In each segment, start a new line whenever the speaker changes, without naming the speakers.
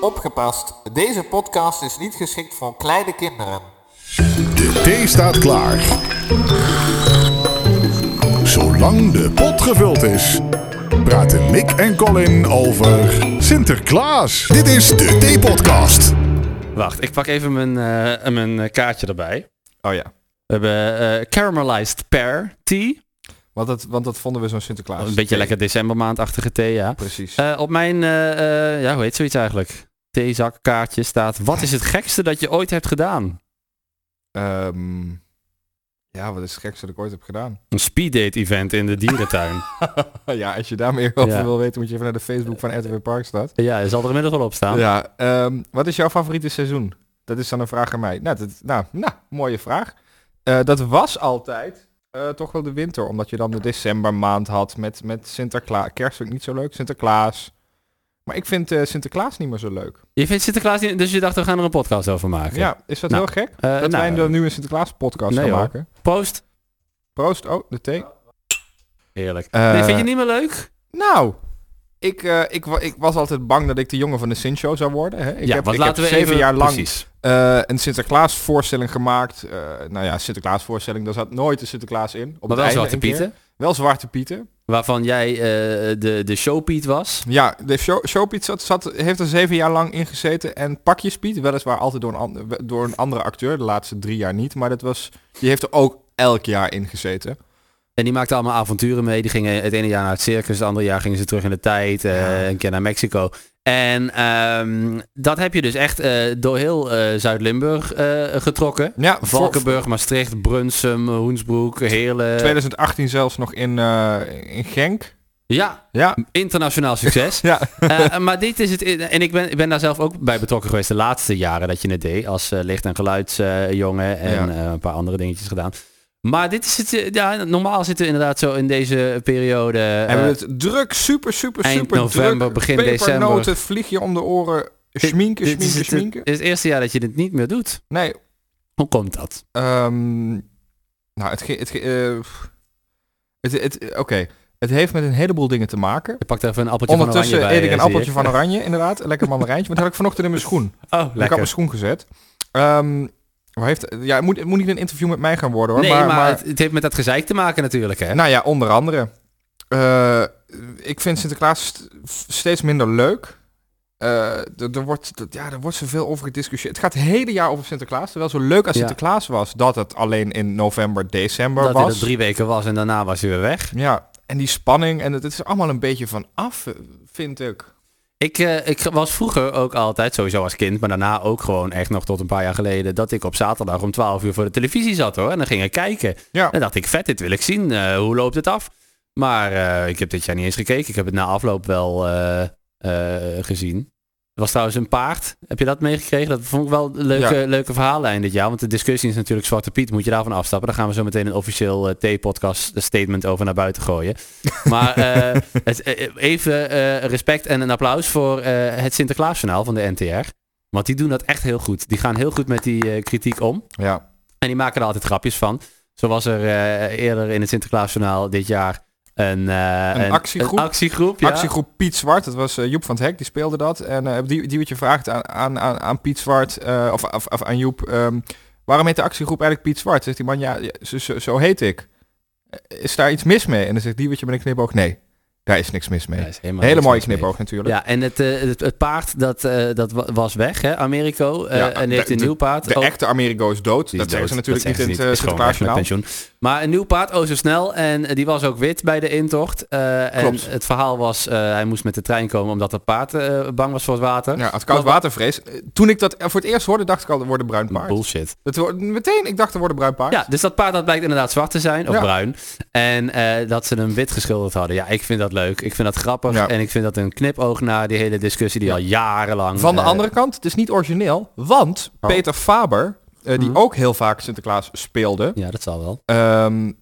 Opgepast, deze podcast is niet geschikt voor kleine kinderen.
De thee staat klaar. Zolang de pot gevuld is, praten Mick en Colin over Sinterklaas. Dit is de Thee-podcast.
Wacht, ik pak even mijn, eh, mijn eh, kaartje erbij.
Oh ja.
We hebben eh, caramelized pear tea.
Want dat, want dat vonden we zo'n Sinterklaas.
Een beetje lekker decembermaandachtige thee, ja.
Precies.
Eh, op mijn, eh, eh, ja, hoe heet zoiets eigenlijk? Theezakkaartje staat, wat is het gekste dat je ooit hebt gedaan?
Ehm, ja, wat is het gekste dat ik ooit heb gedaan?
Een speeddate event in de dierentuin.
ja, als je daar meer over
Ja.
wil weten, moet je even naar de Facebook van RTW Parkstad.
ja, je zal er inmiddels wel op staan.
Ja. ehm, wat is jouw favoriete seizoen? Dat is dan een vraag aan mij. Nou, dat, nou, nou mooie vraag. Eh, dat was altijd eh, toch wel de winter, omdat je dan de decembermaand had met, met Sinterklaas. Kerst vind ik niet zo leuk, Sinterklaas. Maar ik vind eh, Sinterklaas niet meer zo leuk.
Je vindt Sinterklaas niet, dus je dacht we gaan er een podcast over maken.
Ja, is dat
Nou,
heel gek?
Eh,
dat
nou,
wij dan nu een Sinterklaas podcast
nee
gaan
hoor.
maken.
Proost.
Proost, oh, de thee.
Heerlijk.
Eh,
nee, vind je niet meer leuk?
Nou, ik, eh, ik, wa- ik was altijd bang dat ik de jongen van de Sint-show zou worden. Hè? Ik
ja,
heb,
want
ik
laten
heb
we
zeven
even...
jaar lang
Precies.
eh, een Sinterklaas voorstelling gemaakt. Eh, nou ja, Sinterklaas voorstelling, daar zat nooit een Sinterklaas in. Op
Maar
het
wel
einde
Zwarte
een keer.
Pieten,
Wel Zwarte Pieten.
waarvan jij eh, de, de showpiet was.
Ja, de show, Showpiet zat, zat, heeft er zeven jaar lang in gezeten. En Pakjes Piet, weliswaar altijd door een, an- door een andere acteur, de laatste drie jaar niet. Maar dat was, die heeft er ook elk jaar in gezeten.
En die maakten allemaal avonturen mee. Die gingen het ene jaar naar het circus, het andere jaar gingen ze terug in de tijd. eh, Een keer naar Mexico. En ehm, dat heb je dus echt eh, door heel eh, Zuid-Limburg eh, getrokken.
Ja, voor,
Valkenburg, Maastricht, Brunsum, Hoensbroek, Heerlen.
2018 zelfs nog in, eh, in Genk.
Ja,
Ja,
internationaal succes.
ja.
Eh, maar dit is het. En ik ben, ik ben daar zelf ook bij betrokken geweest de laatste jaren dat je het deed. Als eh, licht- en geluidsjongen en
Ja.
eh, een paar andere dingetjes gedaan. Maar dit is het. eh, ja, normaal zitten we inderdaad zo in deze periode. eh,
Hebben we het druk, super, super,
eind
super
november,
druk.
begin
Pepernoten,
december.
vlieg je om de oren, schminken,
Dit is
schminken,
het,
schminken.
het is het eerste jaar dat je dit niet meer doet.
Nee,
Hoe komt dat?
ehm, nou, het, ge- het, ge- eh, pff. het, het, oké, het heeft met een heleboel dingen te maken.
Je pakt even een appeltje van oranje
Ondertussen
bij.
eet ik
eh,
een
zie
appeltje van oranje, inderdaad. Een lekker mandarijntje, maar dat had ik vanochtend in mijn schoen.
Oh,
Ik had
lekker.
mijn schoen gezet. Ehm, waar heeft, ja, het moet, het moet niet een interview met mij gaan worden hoor.
Nee, maar, het, het heeft met dat gezeik te maken natuurlijk, hè?
Nou ja, onder andere. Eh, ik vind Sinterklaas st- steeds minder leuk. Eh, d- er, wordt, d- ja, er wordt zoveel over gediscussieerd. Het gaat het hele jaar over Sinterklaas. Terwijl zo leuk als
Ja.
Sinterklaas was, dat het alleen in november, december
dat hij er
was.
drie weken was en daarna was hij weer weg.
Ja, en die spanning. En het, het is er allemaal een beetje van af, eh, vind ik.
Ik, eh, ik was vroeger ook altijd, sowieso als kind, maar daarna ook gewoon echt nog tot een paar jaar geleden, dat ik op zaterdag om 12 uur voor de televisie zat hoor. En dan ging ik kijken.
Ja.
En dacht ik, vet, dit wil ik zien. Eh, hoe loopt het af? Maar eh, ik heb dit jaar niet eens gekeken. Ik heb het na afloop wel eh, eh, gezien. Er was trouwens een paard. Heb je dat meegekregen? Dat vond ik wel een leuke, leuke verhaallijn dit jaar. Want de discussie is natuurlijk Zwarte Piet. Moet je daarvan afstappen? Daar gaan we zo meteen een officieel eh, T-podcast statement over naar buiten gooien. Maar eh, het, eh, even eh, respect en een applaus voor eh, het Sinterklaasjournaal van de NTR. Want die doen dat echt heel goed. Die gaan heel goed met die eh, kritiek om.
Ja,
En die maken er altijd grapjes van. Zo was er eh, eerder in het Sinterklaasjournaal dit jaar een, eh,
Een actiegroep.
Een actiegroep, ja.
actiegroep Piet Zwart. Dat was eh, Joep van het Hek, die speelde dat. En eh, die, die wat je vraagt aan, aan, aan, aan Piet Zwart, eh, of, of, of aan Joep... ehm, waarom heet de actiegroep eigenlijk Piet Zwart? Zegt die man, ja, ja, zo, zo, zo heet ik. Eh, Is daar iets mis mee? En dan zegt die wat je met een knipoog, nee, daar is niks mis mee.
Daar is helemaal
Hele
niks
mooie
mis mee.
knipoog natuurlijk.
Ja, en het, eh, het, het paard dat, eh, dat wa- was weg, hè, Americo. eh,
Ja,
en die heeft
de-
een nieuw paard.
De
Oh,
echte Amerigo is dood.
die
dat
is
zeggen ze
dood.
natuurlijk
Dat
niet in
zeggen
het
ze
eh,
Is gewoon weg met
Sinterklaasjournaal.
pensioen. Maar een nieuw paard, oh zo snel. En eh, die was ook wit bij de intocht. Eh, en
Klopt.
het verhaal was, eh, hij moest met de trein komen omdat het paard eh, bang was voor het water.
Ja, het koud
Maar wa-
watervrees. Eh, Toen ik dat eh, voor het eerst hoorde, dacht ik al, er wordt een bruin paard.
Bullshit.
Het wordt meteen, ik dacht, er wordt een bruin paard.
Ja, dus dat paard dat blijkt inderdaad zwart te zijn, of
Ja.
bruin. En eh, dat ze hem wit geschilderd hadden. Ja, ik vind dat leuk. Ik vind dat grappig.
Ja.
En ik vind dat een knipoog naar die hele discussie die al jarenlang...
Van de
eh,
andere kant, het is niet origineel, want
Oh. Mhm.
Peter Faber, eh, die ook heel vaak Sinterklaas speelde,
Ja, dat zal wel.
ehm,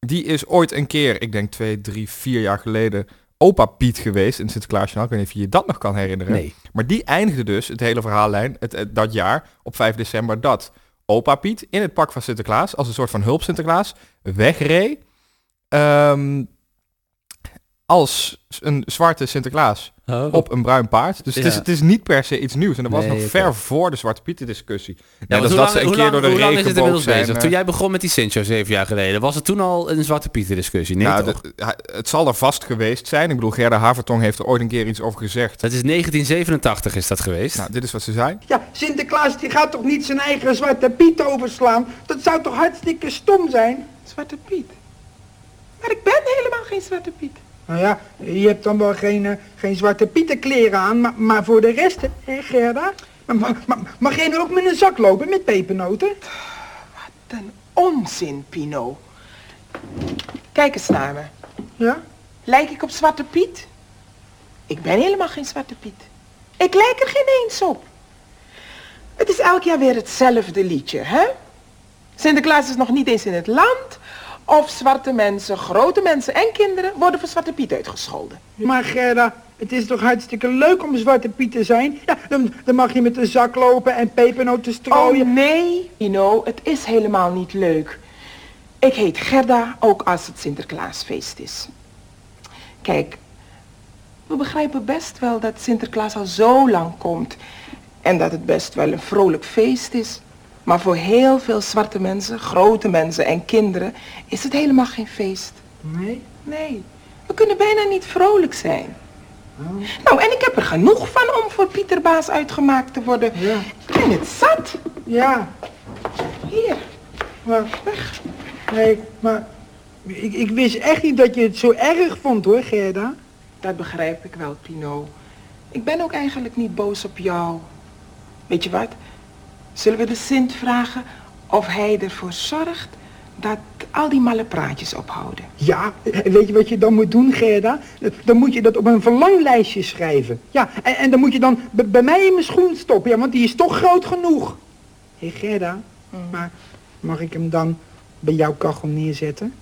die is ooit een keer, ik denk twee, drie, vier jaar geleden, opa Piet geweest in Sinterklaasjournaal. Ik weet niet of je je dat nog kan herinneren.
Nee.
Maar die eindigde dus het hele verhaallijn het, het- dat jaar op 5 december dat opa Piet in het pak van Sinterklaas, als een soort van hulp Sinterklaas, wegreed. Ehm, als een zwarte Sinterklaas op een bruin paard. Dus het, is,
Oh. Ja.
het is niet per se iets nieuws. En dat was
Nee,
nog
oké.
ver voor de Zwarte Pieten discussie.
Ja,
Net als
want hoe
dat
lang,
ze een
hoe
keer
lang-
door de
hoe lang is het
regenboog
inmiddels
zijn.
bezig?
eh,
Toen jij begon met die Sincho zeven jaar geleden, was het toen al een Zwarte Pieter discussie? Nee,
nou,
toch?
dat- hij- het zal er vast geweest zijn. Ik bedoel, Gerda Havertong heeft er ooit een keer iets over gezegd.
Dat is 1987 is dat geweest.
Nou, dit is wat ze zei.
Ja, Sinterklaas die gaat toch niet zijn eigen Zwarte Piet overslaan? Dat zou toch hartstikke stom zijn?
Zwarte Piet. Maar ik ben helemaal geen Zwarte Piet.
Nou ja, je hebt dan wel geen, eh, geen Zwarte Pietenkleren aan, maar, maar voor de rest, hè Gerda? Maar- maar- maar- Mag jij nu ook met een zak lopen met pepernoten?
Ten onzin, Pino. Kijk eens naar me.
Ja?
Lijk ik op Zwarte Piet? Ik ben helemaal geen Zwarte Piet. Ik lijk er geen eens op. Het is elk jaar weer hetzelfde liedje, hè? Sinterklaas is nog niet eens in het land. Of zwarte mensen, grote mensen en kinderen worden voor Zwarte Piet uitgescholden.
Maar Gerda, het is toch hartstikke leuk om Zwarte Piet te zijn? Ja, dan, dan mag je met een zak lopen en pepernoten strooien.
Oh nee, Pino, het is helemaal niet leuk. Ik heet Gerda, ook als het Sinterklaasfeest is. Kijk, we begrijpen best wel dat Sinterklaas al zo lang komt. En dat het best wel een vrolijk feest is. Maar voor heel veel zwarte mensen, grote mensen en kinderen is het helemaal geen feest.
Nee?
Oh, Nee, we kunnen bijna niet vrolijk zijn. Nou, en ik heb er genoeg van om voor Pieter Baas uitgemaakt te worden.
Ja.
Ik ben het zat.
Ja,
Hier,
maar...
weg.
Nee, maar... Ik, ik wist echt niet dat je het zo erg vond hoor, Gerda.
Dat begrijp ik wel, Pino. Ik ben ook eigenlijk niet boos op jou. Weet je wat? Zullen we de Sint vragen of hij ervoor zorgt dat al die malle praatjes ophouden?
Ja, en weet je wat je dan moet doen, Gerda? Dan moet je dat op een verlanglijstje schrijven. Ja, en, en dan moet je dan b- bij mij in mijn schoen stoppen, ja, want die is toch groot genoeg. Hé Gerda, maar mag ik hem dan bij jouw kachel neerzetten?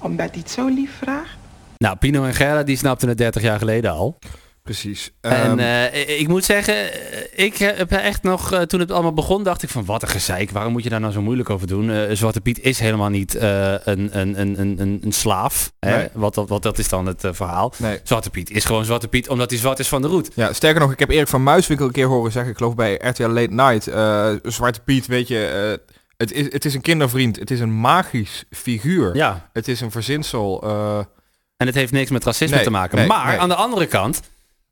Omdat hij het zo lief vraagt?
Nou, Pino en Gerda die snapten het 30 jaar geleden al.
Precies.
En
Ehm,
eh, ik- ik moet zeggen, eh, ik heb echt nog, eh, toen het allemaal begon, dacht ik van wat een gezeik. Waarom moet je daar nou zo moeilijk over doen? Eh, Zwarte Piet is helemaal niet eh, een, een, een, een, een- een slaaf. Hè?
Nee.
Wat, dat- wat dat is dan het eh, verhaal.
Nee.
Zwarte Piet is gewoon Zwarte Piet omdat hij zwart is van de roet.
Ja, sterker nog, ik heb Erik van Muiswinkel een keer horen zeggen, ik geloof bij RTL Late Night, eh, Zwarte Piet, weet je, eh, het, is, het is een kindervriend, het is een magisch figuur,
Ja,
het is een verzinsel. eh,
En het heeft niks met racisme
Nee,
te maken.
nee,
maar
nee.
aan de andere kant,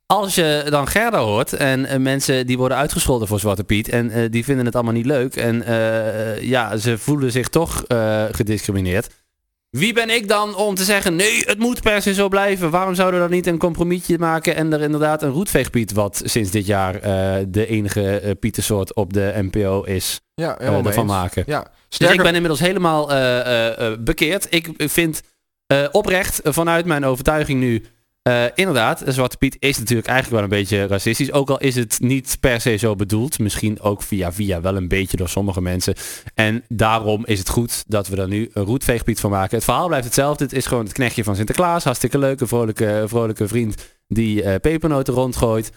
als je dan Gerda hoort en eh, mensen die worden uitgescholden voor Zwarte Piet en eh, die vinden het allemaal niet leuk en eh, ja, ze voelen zich toch eh, gediscrimineerd. Wie ben ik dan om te zeggen, nee, het moet per se zo blijven. Waarom zouden we dan niet een compromisje maken en er inderdaad een roetveegpiet, wat sinds dit jaar eh, de enige eh, pietersoort op de NPO is,
ja,
eh,
helemaal mee
ervan
eens.
maken.
Ja,
Dus ik
sterker,
ben inmiddels helemaal eh, eh, eh, bekeerd. Ik vind eh, oprecht eh, vanuit mijn overtuiging nu... eh, inderdaad, eh, Zwarte Piet is natuurlijk eigenlijk wel een beetje racistisch. Ook al is het niet per se zo bedoeld. Misschien ook via via wel een beetje door sommige mensen. En daarom is het goed dat we er nu een roetveegpiet van maken. Het verhaal blijft hetzelfde. Het is gewoon het knechtje van Sinterklaas. Hartstikke leuk. Een vrolijke, vrolijke vriend die eh, pepernoten rondgooit.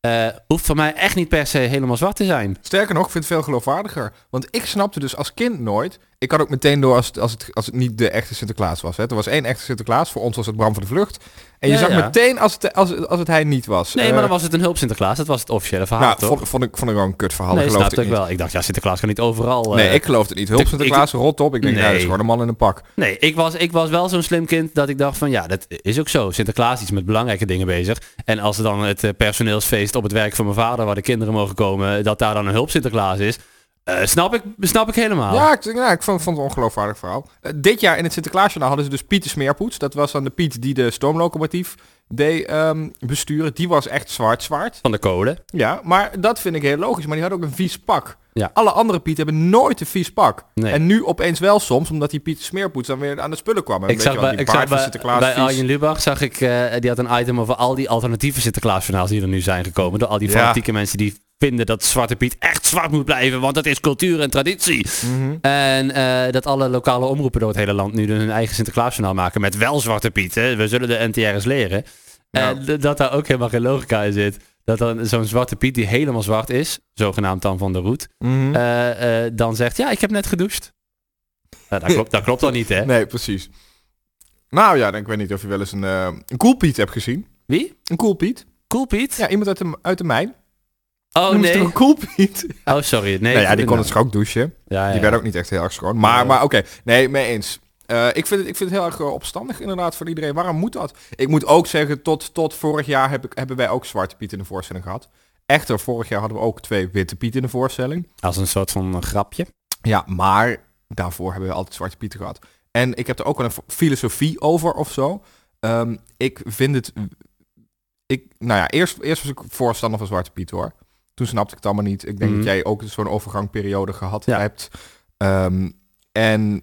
Eh, hoeft van mij echt niet per se helemaal zwart te zijn.
sterker nog, ik vind het veel geloofwaardiger, want ik snapte dus als kind nooit, ik had ook meteen door als het, als het, als het niet de echte Sinterklaas was. Hè. Er was één echte Sinterklaas, voor ons was het Bram van de Vlucht, en je
Ja,
zag
ja.
meteen als het, als, het- als het hij niet was.
Nee,
Eh,
maar dan was het een hulp Sinterklaas. Dat was het officiële verhaal,
nou,
toch?
vond, vond ik vond ik wel een kut verhaal.
nee,
geloof
snapte ik wel. Ik dacht, ja, Sinterklaas kan niet overal.
Nee,
eh,
ik geloof het niet. Hulp
ik-
Sinterklaas, rot op. Ik denk,
Nee.
nou, dat is gewoon een man in een pak.
nee ik, was, ik was wel zo'n slim kind dat ik dacht van, ja, dat is ook zo. Sinterklaas is met belangrijke dingen bezig. En als er dan het eh, personeelsfeest op het werk van mijn vader, waar de kinderen mogen komen, dat daar dan een hulp Sinterklaas is, eh, snap, ik, snap ik helemaal.
Ja, ik, ja, ik vond, vond het een ongeloofwaardig verhaal. Eh, dit jaar in het Sinterklaasjournaal hadden ze dus Piet de Smeerpoets. Dat was dan de Piet die de stoomlocomotief deed ehm, besturen. Die was echt zwart zwart.
Van de kolen.
Ja, maar dat vind ik heel logisch. Maar die had ook een vies pak.
Ja.
Alle andere Piet hebben nooit een vies pak.
Nee.
En nu opeens wel soms, omdat die Piet de Smeerpoets dan weer aan de spullen kwam. En
Ik
weet je
zag,
wel,
bij,
die
ik zag
baard van
bij,
Sinterklaas
bij
vies.
Arjen Lubach, zag ik, eh, die had een item over al die alternatieve Sinterklaasjournaals die er nu zijn gekomen. Door al die
Ja.
fanatieke mensen die vinden dat Zwarte Piet echt zwart moet blijven, want dat is cultuur en traditie.
Mhm.
En eh, dat alle lokale omroepen door het hele land nu hun eigen Sinterklaasjournaal maken met wel Zwarte Piet. Hè? We zullen de NTR's leren.
Nou.
En d- dat daar ook helemaal geen logica in zit. Dat dan zo'n Zwarte Piet die helemaal zwart is, zogenaamd dan van de roet,
Mhm.
eh, eh, dan zegt, ja, ik heb net gedoucht. Nou, dat, klopt, dat klopt dan niet, hè?
Nee, precies. Nou ja, dan, ik weet niet of je wel eens een, eh, een Cool Piet hebt gezien.
Wie?
Een Cool Piet?
Cool Piet?
Ja, iemand uit de, uit de mijn.
Oh
Noemen ze toch
nee.
Een Cool Piet?
Oh sorry. Nee,
nou ja,
ik
die
vind
kon
het-
het schoon douchen.
Ja, ja.
Die werd ook niet echt heel erg schoon. Maar, maar oké, nee, mee eens. Eh, ik, vind het, ik vind het heel erg eh, opstandig inderdaad voor iedereen. Waarom moet dat? Ik moet ook zeggen, tot, tot vorig jaar heb ik, hebben wij ook Zwarte Piet in de voorstelling gehad. Echter, vorig jaar hadden we ook twee Witte Piet in de voorstelling.
Als een soort van eh, grapje.
Ja, maar daarvoor hebben we altijd Zwarte Piet gehad. En ik heb er ook wel een f- filosofie over of zo. Ehm, ik vind het... Ik, nou ja, eerst, eerst was ik voorstander van Zwarte Piet hoor. Toen snapte ik het allemaal niet. Ik denk
Mhm.
dat jij ook zo'n overgangperiode gehad
Ja.
hebt. Ehm, en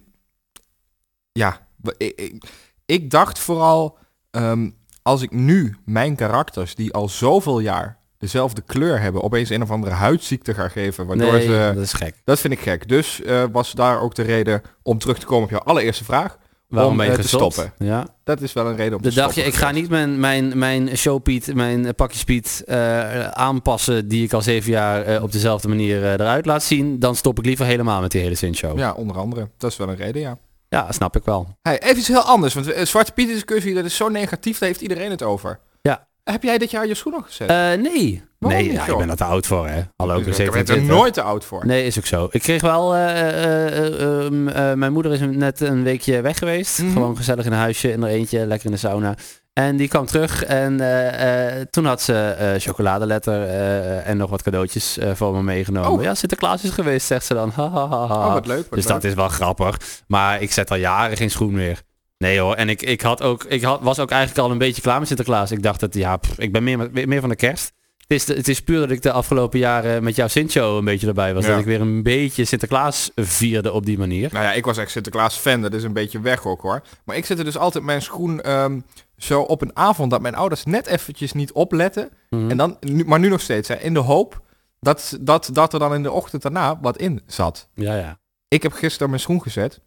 ja, w- ik, ik, ik dacht vooral, ehm, als ik nu mijn karakters, die al zoveel jaar dezelfde kleur hebben, opeens een of andere huidziekte ga geven, waardoor
nee,
ze...
dat is gek.
Dat vind ik gek. Dus eh, was daar ook de reden om terug te komen op jouw allereerste vraag.
Waarom ben je
eh, te
gezond?
stoppen?
Ja.
Dat is wel een reden om
Dan
te
dacht je,
stoppen.
ik ga niet mijn, mijn, mijn showpiet, mijn eh, pakjespiet eh aanpassen die ik al zeven jaar eh, op dezelfde manier eh, eruit laat zien. Dan stop ik liever helemaal met die hele zinshow. Ja.
Ja, onder andere. Dat is wel een reden, ja.
snap ik wel.
Hey, even iets heel anders, want eh, Zwarte Piet discussie, dat is zo negatief, daar heeft iedereen het over.
Ja.
Heb jij dit jaar je schoenen gezet?
Eh, nee.
Waarom
nee,
niet,
ja, ik
joh?
ben er te oud voor hè. Hallo, ik ben
ik ben er
27.
nooit te oud voor.
Nee, is ook zo. Ik kreeg wel... eh, eh, eh, ehm, eh, mijn moeder is net een weekje weg geweest.
Mhm.
Gewoon gezellig in een huisje, in haar eentje, lekker in de sauna. En die kwam terug en eh, eh, toen had ze eh, chocoladeletter eh, en nog wat cadeautjes eh, voor me meegenomen.
Oh.
Ja, Sinterklaas is geweest, zegt ze dan. Ha, ha, ha, ha.
Oh, wat leuk. Wat
dus
leuk.
dat is wel grappig. Maar ik zet al jaren geen schoen meer. Nee hoor, en ik, ik, had ook, ik had, was ook eigenlijk al een beetje klaar met Sinterklaas. Ik dacht dat, ja, pff, ik ben meer, meer van de kerst. Het is, de- het is puur dat ik de afgelopen jaren met jouw Sintjo een beetje erbij was.
Ja.
Dat ik weer een beetje Sinterklaas vierde op die manier.
Nou ja, ik was echt Sinterklaas-fan, dat is een beetje weg ook hoor. Maar ik zette dus altijd mijn schoen ehm, zo op een avond dat mijn ouders net eventjes niet opletten.
Mhm.
En dan, nu- maar nu nog steeds, hè, in de hoop dat, dat, dat er dan in de ochtend daarna wat in zat.
Ja, ja.
Ik heb gisteren mijn schoen gezet.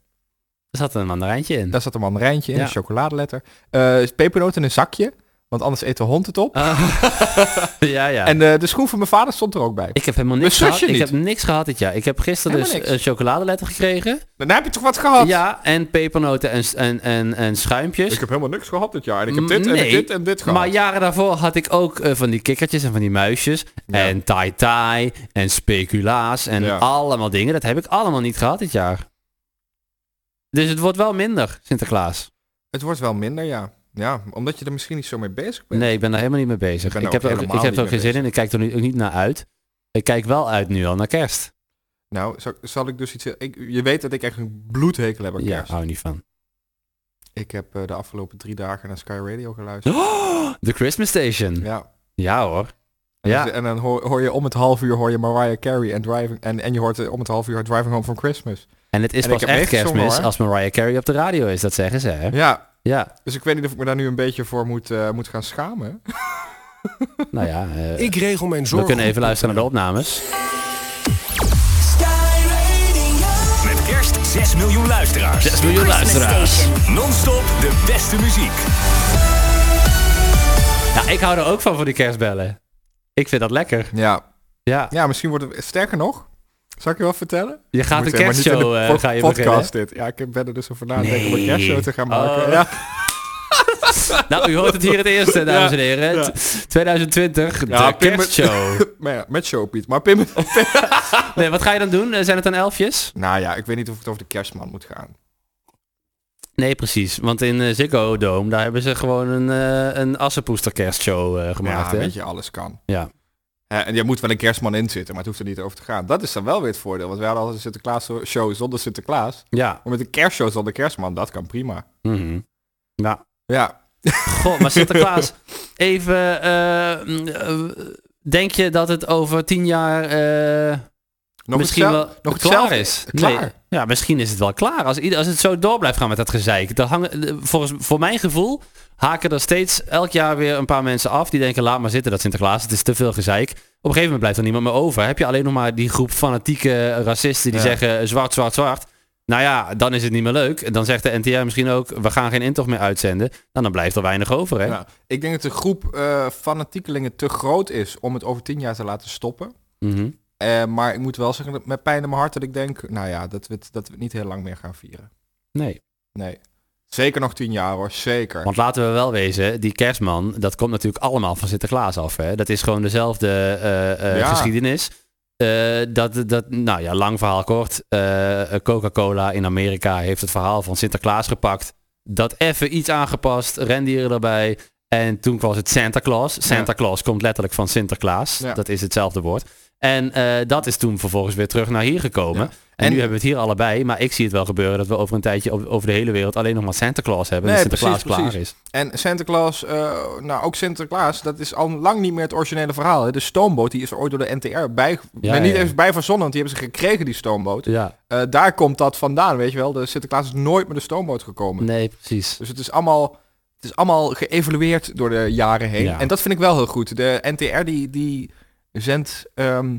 Er zat een mandarijntje in.
Daar zat een mandarijntje in,
Ja.
een chocoladeletter. Eh pepernoot in een zakje, want anders eet de hond het op.
Ah, ja, ja.
En eh, de schoen van mijn vader stond er ook bij.
ik heb helemaal niks
Mijn
gehad.
zusje
Ik heb
niet.
niks gehad dit jaar. Ik heb gisteren dus
Helemaal
een
niks.
chocoladeletter gekregen.
Dan heb je toch wat gehad?
Ja, en pepernoten en, s- en, en, en schuimpjes.
heb helemaal niks gehad dit jaar. En
Mm, nee,
dit
Maar jaren daarvoor had ik ook eh, van die kikkertjes en van die muisjes.
Ja.
En tai tai en speculaas en
Ja.
allemaal dingen. Dat heb ik allemaal niet gehad dit jaar. Dus het wordt wel minder, Sinterklaas.
Het wordt wel minder, ja. Ja, omdat je er misschien niet zo mee bezig bent.
Nee, ik ben daar helemaal niet mee bezig.
Ik ben
Ik,
er
heb
ook
er ook, ik
helemaal
heb er ook
niet
geen
mee
zin in. Ik kijk er nu ook niet naar uit. Ik kijk wel uit nu al naar kerst.
Nou, zal, zal ik dus iets... Ik, je weet dat ik echt een bloedhekel heb aan
Ja,
kerst.
hou niet van.
Ik heb eh, de afgelopen drie dagen naar Sky Radio geluisterd.
The Christmas Station.
Ja.
Ja hoor. Ja,
Dus- en dan hoor, hoor je om het half uur hoor je Mariah Carey en Driving... En, en je hoort eh, om het half uur Driving Home from Christmas.
en het is
En ik
pas
heb
echt
meegezongen,
kerstmis
hoor.
als Mariah Carey op de radio is, dat zeggen ze hè.
Ja,
Ja,
dus ik weet niet of ik me daar nu een beetje voor moet, eh, moet gaan schamen.
nou ja. eh,
Ik regel mijn
we
zorgen.
kunnen even luisteren naar de opnames.
Sky Radio.
Met kerst 6 miljoen luisteraars.
6 miljoen luisteraars.
Non-stop de beste muziek.
Ja, ik hou er ook van voor die kerstbellen. Ik vind dat lekker.
Ja,
Ja,
ja misschien wordt het... Sterker nog, zal ik je wat vertellen?
je gaat een
Moet helemaal niet in
kerstshow
de
eh,
pod-
ga je
podcast dit. Ja, ik ben er dus over nadenken om een kerstshow te gaan maken.
Oh.
Ja.
beginnen. Nou, u hoort het hier het eerste, dames en heren.
ja.
T- 2020,
Ja,
de
Pim-
kerstshow.
Maar ja, met showpiet. Maar Pim...
Nee, wat ga je dan doen? Eh, Zijn het dan elfjes?
nou ja, ik weet niet of het over de kerstman moet gaan.
Nee, precies. Want in eh, Ziggo Dome, daar hebben ze gewoon een, eh een assenpoester kerstshow eh, gemaakt.
ja,
hè?
weet je, alles kan.
Ja.
Hè, en je moet wel een kerstman in zitten, maar het hoeft er niet over te gaan. Dat is dan wel weer het voordeel, want wij hadden al een Sinterklaas show zonder Sinterklaas.
ja.
Maar met een kerstshow zonder kerstman, dat kan prima.
Mhm. Nou,
Ja,
god, maar Sinterklaas, even... eh, mm, eh, denk je dat het over tien jaar... eh,
nog
misschien
hetzelfde-
wel
nog
klaar
hetzelfde.
is.
Klaar.
Nee. Ja, misschien is het wel klaar. Als, ieder, als het zo door blijft gaan met dat gezeik. Dan hangen, de- volgens, voor mijn gevoel haken er steeds elk jaar weer een paar mensen af. Die denken, laat maar zitten dat Sinterklaas. Het is te veel gezeik. Op een gegeven moment blijft er niemand meer over. Heb je alleen nog maar die groep fanatieke racisten die
Ja.
zeggen eh, zwart, zwart, zwart. Nou ja, dan is het niet meer leuk. Dan zegt de NTR misschien ook, we gaan geen intocht meer uitzenden. Nou, dan blijft er weinig over, hè?
Ja. Ik denk dat de groep eh, fanatiekelingen te groot is om het over tien jaar te laten stoppen.
Mhm.
Eh, maar ik moet wel zeggen, dat met pijn in mijn hart, dat ik denk, nou ja, dat we het, dat we het niet heel lang meer gaan vieren.
Nee.
Nee. Zeker nog tien jaar hoor, zeker.
Want laten we wel wezen, die kerstman, dat komt natuurlijk allemaal van Sinterklaas af. Hè? Dat is gewoon dezelfde eh, eh,
Ja.
geschiedenis. Eh, dat, dat, nou ja, lang verhaal kort. Eh, Coca-Cola in Amerika heeft het verhaal van Sinterklaas gepakt. Dat even iets aangepast, rendieren erbij. En toen was het Santa Claus. Santa Claus komt letterlijk van Sinterklaas.
Ja.
Dat is hetzelfde woord. En eh, dat is toen vervolgens weer terug naar hier gekomen.
Ja.
En,
En-
nu hebben we het hier allebei. Maar ik zie het wel gebeuren dat we over een tijdje op- over de hele wereld alleen nog maar Santa Claus hebben. en
Nee,
Sinterklaas
precies,
klaar
precies.
is.
En Santa Claus, eh, nou ook Sinterklaas, dat is al lang niet meer het originele verhaal. Hè. De stoomboot, die is er ooit door de NTR bij,
Ja,
nee,
ja,
niet
ja.
eens bij verzonnen, want die hebben ze gekregen, die stoomboot.
Ja,
Eh, daar komt dat vandaan, weet je wel. De Sinterklaas is nooit met de stoomboot gekomen.
nee, precies.
Dus het is allemaal, het is allemaal geëvalueerd door de jaren heen.
Ja.
En dat vind ik wel heel goed. De NTR die, die zendt ehm,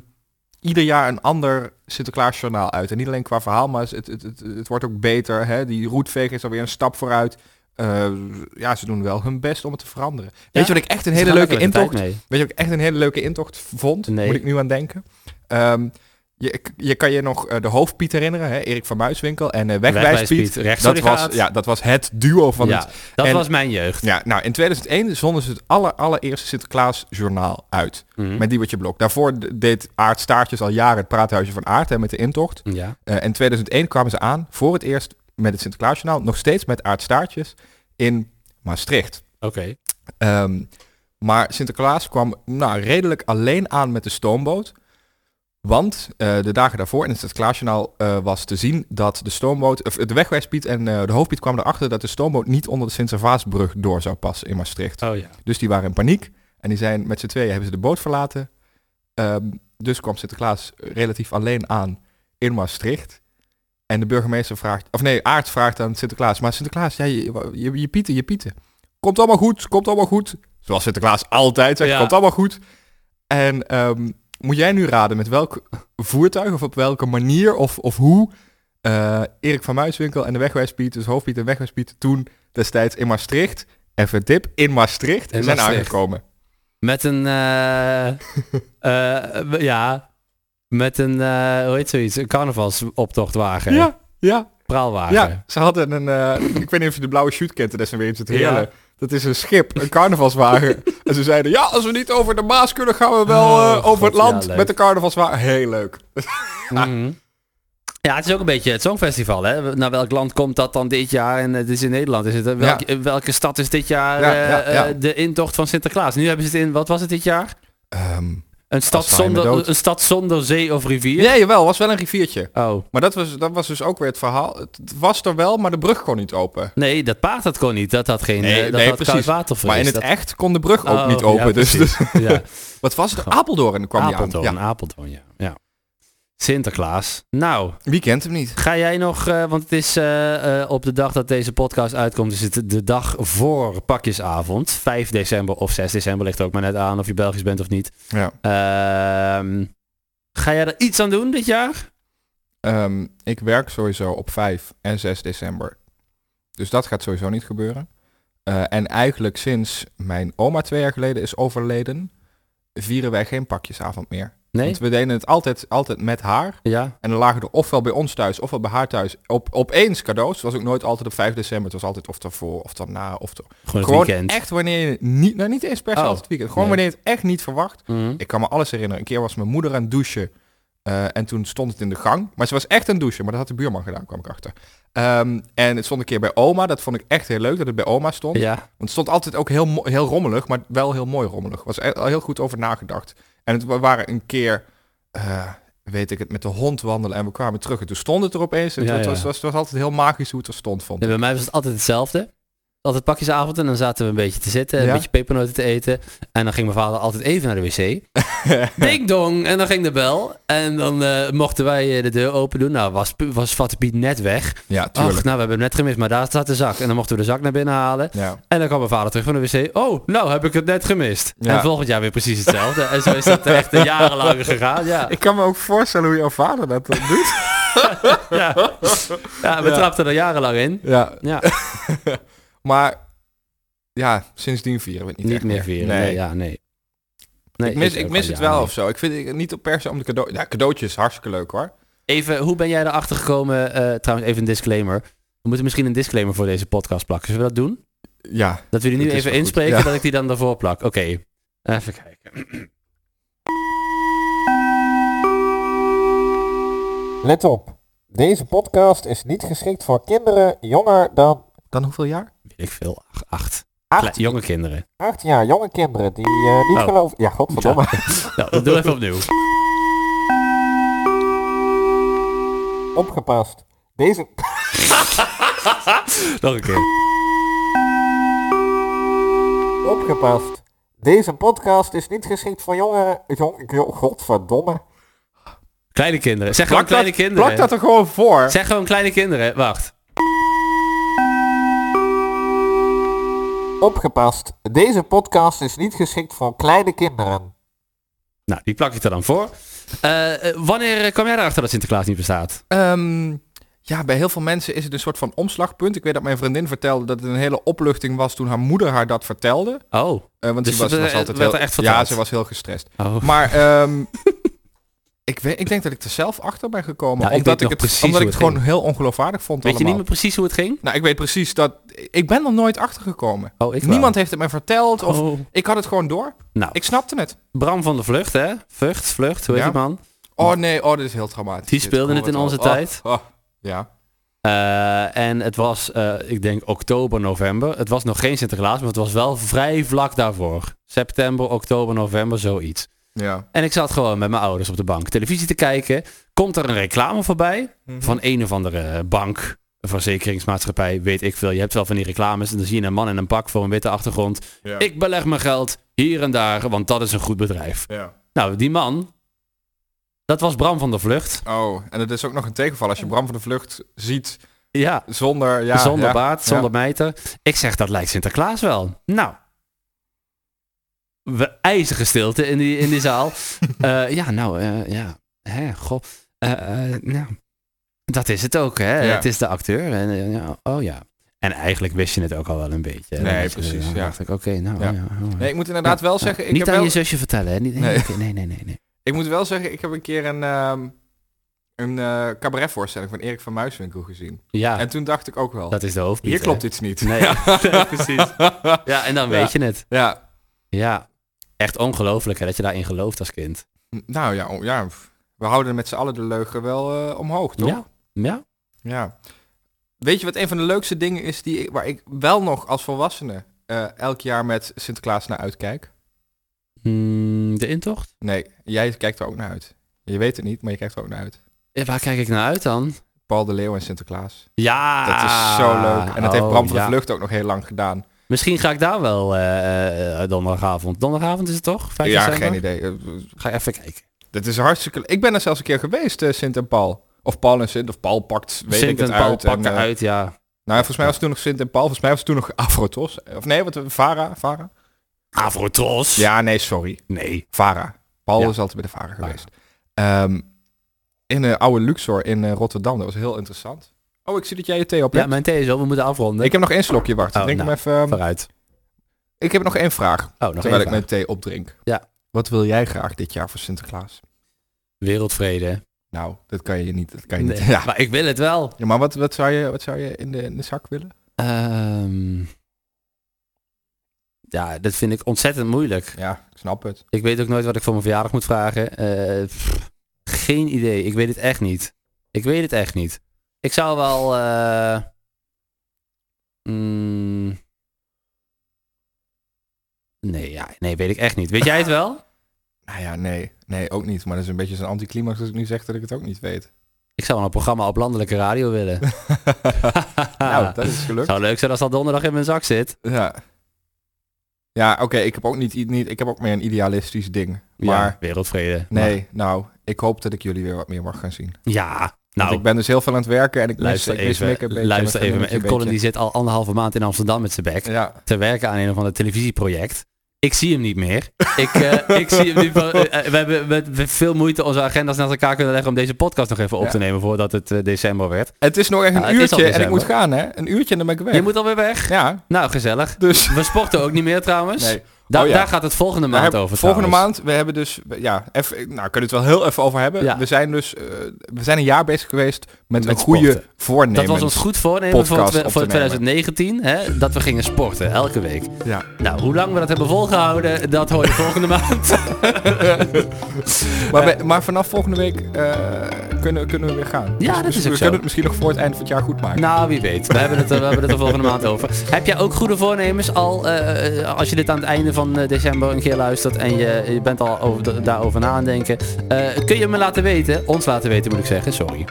ieder jaar een ander Sinterklaasjournaal uit. En niet alleen qua verhaal, maar het, het, het, het wordt ook beter. Hè? Die roetveeg is alweer een stap vooruit. Eh, ja, ze doen wel hun best om het te veranderen. Weet je wat ik echt een
Ze
hele
gaan
leuke
lekker met de tijd
intocht...
mee.
Weet je wat ik echt een hele leuke intocht vond?
Nee.
Moet ik nu aan denken. Ehm, je, je kan je nog eh, de hoofdpiet herinneren, hè? Erik van Muiswinkel en eh
Wegwijspiet,
Wegwijspiet.
rechts
dat,
door die
was,
gaat.
ja, Ah, dat was het duo van
ja,
het...
dat
en-
was mijn jeugd.
Ja, nou, in 2001 zonden ze het aller, allereerste Sinterklaasjournaal uit.
Mhm.
Met Diewertje Blok. Daarvoor d- deed Aard Staartjes al jaren het praathuisje van Aard hè, met de intocht.
Ja.
Eh, in 2001 kwamen ze aan, voor het eerst met het Sinterklaasjournaal, nog steeds met Aard Staartjes in Maastricht.
Oké.
Ehm, maar Sinterklaas kwam nou, redelijk alleen aan met de stoomboot. Want eh, de dagen daarvoor in het Sinterklaasjournaal eh, was te zien dat de stoomboot, of de wegwijspiet en eh, de hoofdpiet kwamen erachter dat de stoomboot niet onder de Sint-Servaasbrug door zou passen in Maastricht.
Oh ja.
Dus die waren in paniek en die zijn met z'n tweeën hebben ze de boot verlaten. Ehm, dus kwam Sinterklaas relatief alleen aan in Maastricht. En de burgemeester vraagt, of nee, Aart vraagt aan Sinterklaas, maar Sinterklaas, ja, je, je, je pieten, je pieten. Komt allemaal goed, komt allemaal goed. Zoals Sinterklaas altijd zegt,
Ja.
komt allemaal goed. En ehm, moet jij nu raden met welk voertuig of op welke manier of, of hoe eh, Erik van Muiswinkel en de Wegwijspiet, dus Hoofdpiet en Wegwijspiet, toen destijds in Maastricht, even een tip, in Maastricht
In
zijn
Maastricht.
aangekomen.
Met een, eh, eh, ja, met een, eh, hoe heet zoiets, een carnavalsoptochtwagen.
Ja, ja,
Praalwagen.
ja. Ze hadden een, eh, ik weet niet of je de blauwe shoot kent, dat is weer in het
Ja.
hele. Dat is een schip, een carnavalswagen. en ze zeiden, ja, als we niet over de Maas kunnen, gaan we wel
Oh,
eh, over
God,
het land
ja, leuk.
met de carnavalswagen. Heel leuk. Ah.
Mhm. Ja, het is ook een beetje het Songfestival. Hè? Naar welk land komt dat dan dit jaar? En het is in Nederland. Is het, eh, welk-
Ja.
eh, Welke stad is dit jaar
Ja,
eh,
ja, ja.
eh, de intocht van Sinterklaas? Nu hebben ze het in, wat was het dit jaar?
Ehm,
Een stad,
Als wij me dood.
zonder, een stad zonder zee of rivier?
ja, jawel, was wel een riviertje.
Oh,
Maar dat was, dat was dus ook weer het verhaal. Het was er wel, maar de brug kon niet open.
nee, dat paard dat kon niet. Dat had geen, eh, dat had koud water voor
maar in
is.
het
Dat-
echt kon de brug ook
Oh,
niet
ja,
open. dus,
precies.
dus-
ja.
wat was het? Apeldoorn kwam die aan.
Apeldoorn,
Ja.
Apeldoorn, ja. ja. Sinterklaas. Nou,
Wie kent hem niet?
ga jij nog, eh, want het is eh, eh, op de dag dat deze podcast uitkomt, is het de dag voor pakjesavond. 5 december of 6 december ligt er ook maar net aan of je Belgisch bent of niet.
Ja.
Ehm, ga jij er iets aan doen dit jaar?
Ehm, ik werk sowieso op 5 en 6 december. Dus dat gaat sowieso niet gebeuren. Eh, en eigenlijk sinds mijn oma twee jaar geleden is overleden, vieren wij geen pakjesavond meer.
Nee?
Want we deden het altijd, altijd met haar.
Ja?
En dan lagen er ofwel bij ons thuis, ofwel bij haar thuis, op, opeens cadeaus. Het was ook nooit altijd op 5 december. Het was altijd of daarvoor, of daarna, of er-
Gewoon het
Gewoon
weekend.
echt wanneer je niet, nou niet eens per se
Oh.
altijd het weekend. Gewoon
Nee.
wanneer je het echt niet verwacht.
Mhm.
Ik kan me alles herinneren. Een keer was mijn moeder aan het douchen. eh, en toen stond het in de gang. Maar ze was echt aan het douchen. Maar dat had de buurman gedaan, kwam ik achter. Ehm, en het stond een keer bij oma. Dat vond ik echt heel leuk dat het bij oma stond.
Ja.
Want het stond altijd ook heel, mo- heel rommelig, maar wel heel mooi rommelig. Was er al heel goed over nagedacht. En het, we waren een keer, eh, weet ik het, met de hond wandelen en we kwamen terug. En toen stond het er opeens. En
Ja,
het,
ja.
was, was, het was altijd heel magisch hoe het er stond, vond
Nee,
ik.
bij mij was het altijd hetzelfde. Altijd pakjesavond en dan zaten we een beetje te zitten, een
Ja?
beetje pepernoten te eten. En dan ging mijn vader altijd even naar de wc. Ding dong! En dan ging de bel. En dan eh, mochten wij eh, de deur open doen. Nou, was, was Vatte Piet net weg.
Ja, tuurlijk.
Ach, nou, we hebben hem net gemist, maar daar staat de zak. En dan mochten we de zak naar binnen halen.
Ja.
En dan kwam mijn vader terug van de wc. Oh, nou heb ik het net gemist.
Ja.
En volgend jaar weer precies hetzelfde. en zo is dat echt jarenlang gegaan. Ja,
Ik kan me ook voorstellen hoe jouw vader dat eh, doet.
ja. ja we trapten er jarenlang in.
ja,
Ja,
maar ja, sindsdien vieren we het niet
niet
echt
meer vieren. Nee, ja, nee. Nee,
ik mis,
is
ik
ook
mis
al
het wel
jaren.
of zo. Ik vind het niet op per se om de cadeau... Ja, cadeautjes, hartstikke leuk hoor.
Even, hoe ben jij erachter gekomen? eh, trouwens, even een disclaimer. We moeten misschien een disclaimer voor deze podcast plakken. Zullen we dat doen?
Ja.
Dat we die nu
Dat is
even
wel goed,
inspreken,
ja.
dat ik die dan daarvoor plak. Oké, even kijken.
Let op. Deze podcast is niet geschikt voor kinderen jonger dan
Dan hoeveel jaar?
Weet ik veel, ach- acht. Kle-
8,
jonge kinderen.
acht jaar. Jonge kinderen die eh, niet
Oh.
geloven... Ja, godverdomme.
Nou, dat doe even opnieuw.
Opgepast. Deze...
Nog een keer.
Opgepast. Deze podcast is niet geschikt voor jongeren... Jong, jong, godverdomme.
Kleine kinderen. Zeg gewoon kleine
dat,
kinderen.
plak dat er gewoon voor.
Zeg gewoon kleine kinderen. Wacht.
Opgepast. Deze podcast is niet geschikt voor kleine kinderen.
Nou, die plak ik er dan voor. Eh, eh, wanneer eh, kwam jij erachter dat Sinterklaas niet bestaat?
Ehm, ja, bij heel veel mensen is het een soort van omslagpunt. Ik weet dat mijn vriendin vertelde dat het een hele opluchting was toen haar moeder haar dat vertelde.
Oh.
Eh, want
Dus
ze was,
het,
was
eh,
altijd
werd
heel,
er echt
Ja,
verteld?
ze was heel gestrest.
oh.
Maar ehm, ik, weet, ik denk dat ik er zelf achter ben gekomen.
Ja, ik weet
omdat ik,
nog
het,
precies
omdat
hoe
ik het
het
gewoon heel ongeloofwaardig vond
Weet je niet
allemaal.
meer precies hoe het ging?
Nou, ik weet precies dat... Ik ben er nooit achter gekomen.
Oh, ik wel.
Niemand heeft het mij verteld. Of
Oh.
Ik had het gewoon door.
Nou,
Ik snapte het.
Bram van de Vlucht, hè? Vlucht, Vlucht, hoe heet
Ja.
die man?
Oh nee, oh, dit is heel traumatisch.
Die
Dit,
speelde
ik
het in
hoor
onze
al. Oh,
tijd.
oh, ja.
Eh, en het was, eh, ik denk oktober, november. Het was nog geen Sinterklaas, maar het was wel vrij vlak daarvoor. September, oktober, november, zoiets.
Ja.
En ik zat gewoon met mijn ouders op de bank televisie te kijken. Komt er een reclame voorbij van een of andere bank, een verzekeringsmaatschappij, weet ik veel. Je hebt wel van die reclames en dan zie je een man in een pak voor een witte achtergrond.
Ja.
Ik beleg mijn geld hier en daar, want dat is een goed bedrijf.
ja.
Nou, die man, dat was Bram van der Vlucht.
Oh, en het is ook nog een tegenval als je Bram van de Vlucht ziet
Ja,
zonder... Ja,
zonder
ja,
baard,
ja.
zonder mijter. Ik zeg, dat lijkt Sinterklaas wel. Nou. We, ijzige stilte in die, in die zaal. Eh, ja, nou, eh, ja. Hè, goh. Eh, eh, nou. Dat is het ook, hè.
Ja.
Het is de acteur. En, eh, ja, oh ja. En eigenlijk wist je het ook al wel een beetje. hè.
Nee,
Dan wist je-
precies,
dan
ja.
dacht ik, oké, nou.
Ja.
Ja. oh, ja.
Nee, ik moet inderdaad wel
Ja.
zeggen... Ik
Niet
heb
aan
wel,
je zusje vertellen, hè. Niet, nee,
Nee.
oké, nee, nee, nee, nee.
Ik moet wel zeggen, ik heb een keer een, ehm een eh, cabaretvoorstelling van Erik van Muiswinkel gezien.
Ja,
En toen dacht ik ook wel,
Ah. dat is de hoofdpiet.
hier
hè.
klopt iets niet.
Nee, ja, precies. Ja, en dan
Ja.
weet je het.
Ja,
Ja, echt ongelooflijk hè, dat je daarin gelooft als kind.
N- nou ja, oh, ja, pff. we houden met z'n allen de leugen wel eh, omhoog, toch?
Ja, ja.
Ja. Weet je wat een van de leukste dingen is die ik, waar ik wel nog als volwassene eh, elk jaar met Sinterklaas naar uitkijk?
Mm, de intocht?
Nee, jij kijkt er ook naar uit. Je weet het niet, maar je kijkt er ook naar uit.
Eh, Waar kijk ik naar uit dan?
Paul de Leeuw en Sinterklaas.
Ja!
Dat is zo leuk. En dat heeft
Ah, Oh,
Bram van
ja.
de Vlucht ook nog heel lang gedaan.
Misschien ga ik daar wel eh, eh, donderdagavond. Donderdagavond is het toch? 5
ja,
december?
geen idee. Eh,
Ga je even kijken.
Dat is hartstikke... Ik ben er zelfs een keer geweest, eh, Sint en Paul. Of Paul en Sint, of Paul pakt, weet ik
Sint
het
en Paul
uit.
pakt
en, eh,
eruit, ja.
Nou, volgens mij was het toen nog Sint en Paul. Volgens mij was het toen nog Afrotos. Of nee, wat, Vara, Vara?
Avrotros?
Ja, nee, sorry.
Nee.
Vara. Paul
Ja.
is altijd bij de Vara geweest. Ehm, in een oude Luxor in eh, Rotterdam. Dat was heel interessant. Oh, ik zie dat jij je thee op
Ja,
hebt.
mijn thee is op. We moeten afronden.
Ik heb nog één slokje, wacht.
Oh,
ik, denk
nou.
hem even, ehm,
Vooruit.
ik heb nog één vraag,
Oh, nog
terwijl
één
ik
vraag.
mijn thee opdrink.
Ja.
Wat wil jij graag dit jaar voor Sinterklaas?
Wereldvrede.
Nou, dat kan je niet. Dat kan je
Nee,
niet. Ja.
Maar ik wil het wel.
Ja, maar wat, wat zou je, wat zou je in, de, in de zak willen?
Ehm, ja, dat vind ik ontzettend moeilijk.
Ja, ik snap het.
Ik weet ook nooit wat ik voor mijn verjaardag moet vragen. Eh, pff, geen idee. Ik weet het echt niet. Ik weet het echt niet. Ik zou wel... eh, mm, nee, ja, nee, weet ik echt niet. Weet jij het wel?
Nou ja, nee. Nee, ook niet. Maar dat is een beetje zo'n anticlimax als ik nu zeg dat ik het ook niet weet.
Ik zou wel een programma op landelijke radio willen.
nou, dat is gelukt.
zou leuk zijn als dat donderdag in mijn zak zit.
Ja. Ja, oké. ik heb ook niet, i- niet... Ik heb ook meer een idealistisch ding. Maar
ja, wereldvrede.
nee,
Maar-
nou... Ik hoop dat ik jullie weer wat meer mag gaan zien.
ja,
Nou,
nou,
ik ben dus heel veel aan het werken en ik mis-
luister
ik mis
even.
Mick een beetje,
luister
mijn
even.
vriendinnetje
Colin
een
die zit al anderhalve maand in Amsterdam met zijn bek.
beetje. Ja,
te werken aan een of ander televisieproject. Ik zie hem niet meer. Ik, eh, ik zie hem niet meer. Eh, eh, we hebben met met veel moeite onze agenda's naast elkaar kunnen leggen om deze podcast nog even op
Ja.
te nemen voordat het eh, december werd.
het is nog echt een
Ja, het is al
uurtje en ik
december.
moet gaan, hè? Een uurtje en dan ben ik weg.
Je moet alweer weg.
Ja,
Nou, gezellig.
dus...
We sporten ook niet meer trouwens.
Nee.
Da-
Oh ja.
Daar gaat het volgende
Daar
maand
heb-
over
Volgende
trouwens.
maand, we hebben dus, ja, even, nou kunnen we het wel heel even over hebben.
Ja.
We zijn dus, eh, we zijn een jaar bezig geweest met,
Met
een goede
sporten.
voornemen.
Dat was ons goed voornemen voor,
podcast
twe-
op
voor
te nemen.
2019, hè, dat we gingen sporten, elke week.
Ja.
Nou, hoe lang we dat hebben volgehouden, dat hoor je volgende maand.
Maar, we- maar vanaf volgende week eh, kunnen, kunnen we weer gaan.
Ja, dat
dus
is
we
ook zo.
kunnen het misschien nog voor het eind van het jaar goed maken.
Nou, wie weet. We hebben het er, we hebben het er volgende maand over. Heb jij ook goede voornemens al, eh, eh, als je dit aan het einde van eh, december een keer luistert en je, je bent al over, da- daarover na aan het denken. eh, kun je me laten weten, ons laten weten moet ik zeggen, sorry.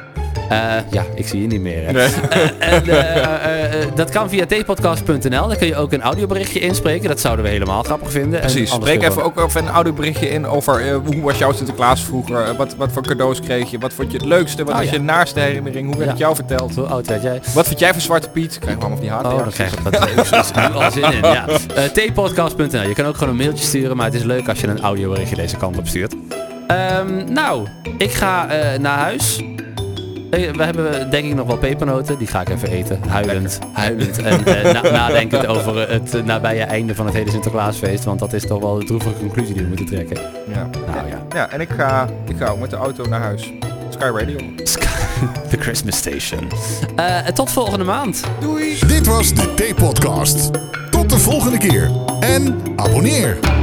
Eh, ja, ik zie je niet meer. hè. Eh, en, eh, eh, eh, dat kan via tpodcast.nl. Daar kun je ook een audioberichtje inspreken. Dat zouden we helemaal grappig vinden. En
Precies,
anders
spreek
gewoon-
even ook even een oude berichtje in over eh, hoe was jouw Sinterklaas vroeger? Eh, wat, wat voor cadeaus kreeg je? Wat vond je het leukste? Wat
Oh,
was
ja.
je naaste herinnering? Hoe werd
Ja.
het jou verteld?
Hoe oud werd jij?
Wat vind jij van Zwarte Piet? Krijg we allemaal van die
Oh, dan
haatreacties.
krijg ik dat is nu al zin in. Ja. Eh, tpodcast.nl. Je kan ook gewoon een mailtje sturen, maar het is leuk als je een audioberichtje deze kant op stuurt. Ehm, nou, ik ga eh, naar huis. Eh, We hebben denk ik nog wel pepernoten. Die ga ik even eten. Huilend. Huilend. En eh, na- nadenkend over eh, het eh, nabije einde van het hele Sinterklaasfeest. Want dat is toch wel de droevige conclusie die we moeten trekken.
ja.
Nou ja.
ja, en ik ga, ik ga ook met de auto naar huis. Sky Radio.
The Christmas Station. Eh, tot volgende maand.
Dit was de T-podcast. Tot de volgende keer. En abonneer.